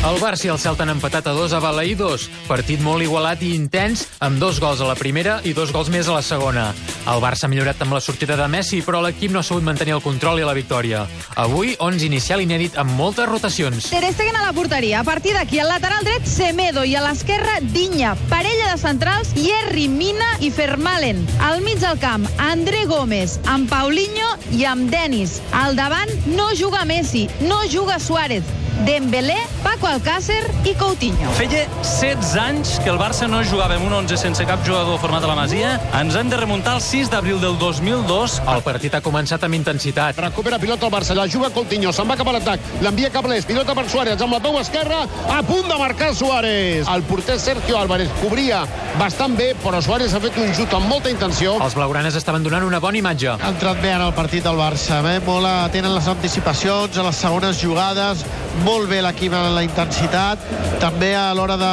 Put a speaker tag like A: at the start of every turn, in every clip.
A: El Barça i el Celta han empatat a dos a Balaïdos. Partit molt igualat i intens, amb dos gols a la primera i dos gols més a la segona. El Barça ha millorat amb la sortida de Messi, però l'equip no ha sabut mantenir el control i la victòria. Avui, 11 inicial inèdit amb moltes rotacions.
B: Ter Stegen a la porteria. A partir d'aquí, al lateral dret, Semedo i a l'esquerra, Dinya. Parella de centrals, Jerry, Mina i Fermalen. Al mig del camp, André Gómez, amb Paulinho i amb Denis. Al davant, no juga Messi, no juga Suárez. Dembélé, Paco Alcácer i Coutinho.
C: Feia 16 anys que el Barça no jugava amb un 11 sense cap jugador format a la Masia. Ens hem de remuntar al 6 d'abril del 2002.
A: El partit ha començat amb intensitat.
D: Recupera pilota el Barça, la juga Coutinho, se'n va cap a l'atac, l'envia cap a l'est, pilota per Suárez, amb la peu esquerra, a punt de marcar Suárez. El porter Sergio Álvarez cobria bastant bé, però Suárez ha fet un jut amb molta intenció.
A: Els blaugranes estaven donant una bona imatge.
E: Ha entrat bé en el partit del Barça, bé? molt atent en les anticipacions, a les segones jugades, molt bé l'equip en la intensitat, també a l'hora de,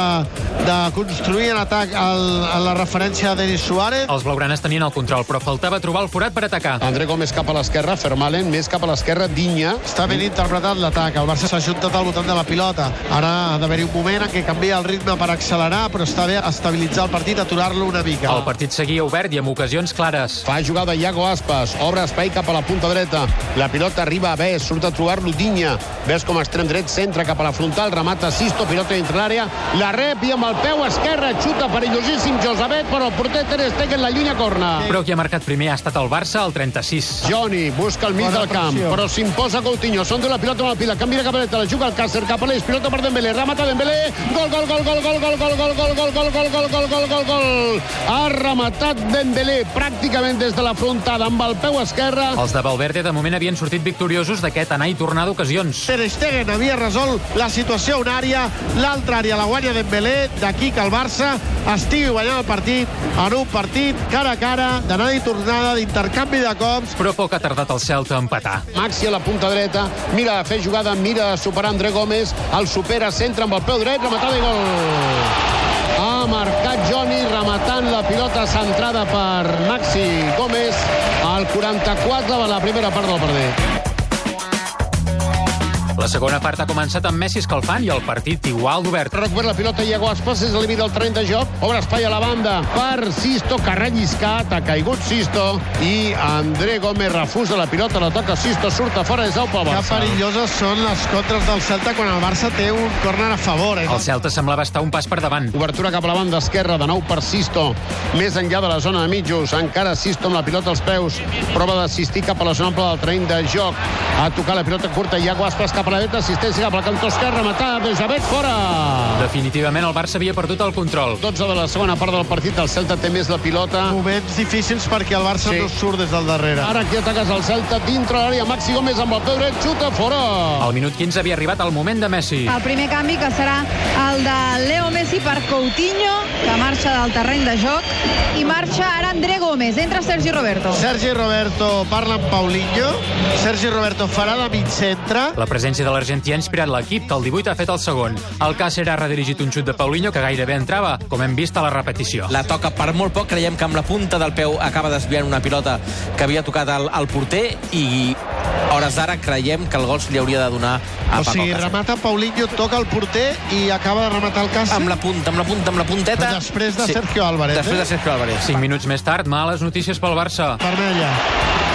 E: de construir en atac el, en la referència de Denis Suárez.
A: Els blaugranes tenien el control, però faltava trobar el forat per atacar.
D: André Gómez cap a l'esquerra, Fermalen més cap a l'esquerra, Dinya.
E: Està ben interpretat l'atac, el Barça s'ha ajuntat al voltant de la pilota. Ara ha d'haver-hi un moment en què canvia el ritme per accelerar, però està bé estabilitzar el partit, aturar-lo una mica.
A: El partit seguia obert i amb ocasions clares.
D: Fa jugada Iago Aspas, obre espai cap a la punta dreta. La pilota arriba a Bes, surt a trobar-lo Dinya. Bes com a extrem dret, centra cap a la frontal, remata Sisto, pilota entre l'àrea, la rep i amb el peu esquerre xuta perillosíssim Josabet, però el porter Ter Stegen la llunya corna.
A: Però qui ha marcat primer ha estat el Barça, al 36.
D: Johnny busca el mig
E: Bona
D: del camp,
E: pressió.
D: però s'imposa Coutinho. Són de la pilota amb la pila, canvia cap a l'est, la juga el Càcer, cap a l'est, pilota per Dembélé, remata Dembélé, gol, gol, gol, gol, gol, gol, gol, gol, gol, gol, gol, gol, gol, gol, gol, gol, gol. Ha rematat Dembélé pràcticament des de la frontada amb el peu esquerre.
A: Els de Valverde de moment havien sortit victoriosos d'aquest anar i tornar d'ocasions.
E: Ter Stegen havia resolt la situació a una àrea, l'altra àrea la guanya Dembélé, d'aquí que el Barça estigui guanyant el partit en un partit cara a cara, d'anada i tornada, d'intercanvi de cops.
A: Però poc ha tardat el Celta a empatar.
D: Maxi a la punta dreta, mira a fer jugada, mira a superar André Gómez, el supera, centra amb el peu dret, rematada i gol. Ha marcat Johnny rematant la pilota centrada per Maxi Gómez al 44 de la primera part del partit.
A: La segona part ha començat amb Messi escalfant i el partit igual d'obert.
D: Recupera la pilota Iago Aspas, és el límit del terreny de joc. Obre espai a la banda per Sisto, que ha relliscat, ha caigut Sisto, i André Gómez refusa la pilota, la toca Sisto, surt a fora, és el pel
E: Que
D: Barça.
E: perilloses són les contres del Celta quan el Barça té un córner a favor. Eh?
A: El Celta semblava estar un pas per davant.
D: Obertura cap a la banda esquerra, de nou per Sisto, més enllà de la zona de mitjos. Encara Sisto amb la pilota als peus, prova d'assistir cap a la zona ampla del terreny de joc. Ha tocat la pilota curta, Iago Aspas cap a la dreta, assistència cap al cantó esquerre, matada de Javet, fora!
A: Definitivament el Barça havia perdut el control.
D: 12 de la segona part del partit, el Celta té més la pilota.
E: Moments difícils perquè el Barça
D: Sí.
E: sí. no surt des del darrere.
D: Ara aquí ataques el Celta dintre l'àrea. Maxi Gómez amb el peu dret, xuta fora.
A: Al minut 15 havia arribat el moment de Messi.
B: El primer canvi que serà el de Leo Messi per Coutinho, que marxa del terreny de joc, i marxa ara André Gómez, entra Sergi Roberto.
E: Sergi Roberto parla amb Paulinho. Sergi Roberto farà de mig centre.
A: La presència de l'argentí ha inspirat l'equip, que el 18 ha fet el segon. El Càcer ha redirigit un xut de Paulinho que gairebé entrava, com hem vist a la repetició.
F: La toca per molt poc, creiem que amb la punta del peu acaba desviant una pilota que havia tocat el, el porter i a hores d'ara creiem que el gol se li hauria de donar a
E: O
F: Paco
E: sigui,
F: Alcácer.
E: remata Paulinho, toca el porter i acaba de rematar el cas.
F: Amb la punta, amb la punta, amb la punteta.
E: Després de Sergio Álvarez,
F: Després
E: eh?
F: de Sergio Álvarez.
A: Cinc minuts més tard, males notícies pel Barça.
E: Vermella.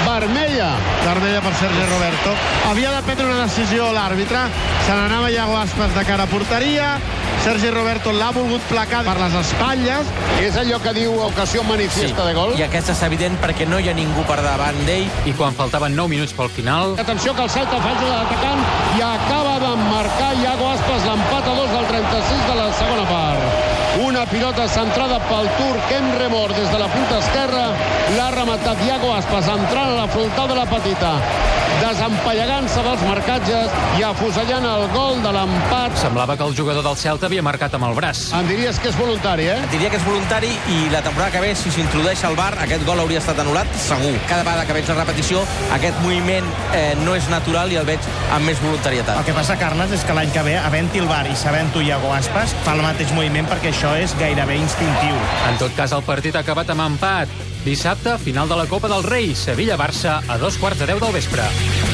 D: Vermella.
E: Vermella per Sergi Roberto. Havia de prendre una decisió l'àrbitre. Se n'anava Iago Aspas de cara a porteria. Sergi Roberto l'ha volgut placar per les espatlles.
D: És allò que diu ocasió manifiesta de gol.
F: I aquesta és evident perquè no hi ha ningú per davant d'ell.
A: I quan faltaven 9 minuts pel final,
D: Atenció que el Celta fa ajuda d'atacant i acaba de marcar Iago Aspas l'empat a dos del 36 de la segona part. Una pilota centrada pel turc Emre Mor des de la punta esquerra. L'ha rematat rematat Iago Aspas entrant a la frontal de la petita desempallegant-se dels marcatges i afusellant el gol de l'empat
A: Semblava que el jugador del Celta havia marcat amb el braç.
D: em diries que és voluntari, eh?
F: Diria que és voluntari i la temporada que ve, si s'introdueix al bar, aquest gol hauria estat anul·lat, segur. Cada vegada que veig la repetició, aquest moviment eh, no és natural i el veig amb més
E: El
F: voluntarietat.
E: que passa, Carles, és que l'any que ve, havent-hi el bar i sabent-ho Iago Aspas, fa el mateix moviment perquè això és gairebé instintiu.
A: En tot cas, el partit ha acabat amb empat. Dissabte, final de la Copa del Rei, Sevilla-Barça, a dos quarts de deu del vespre.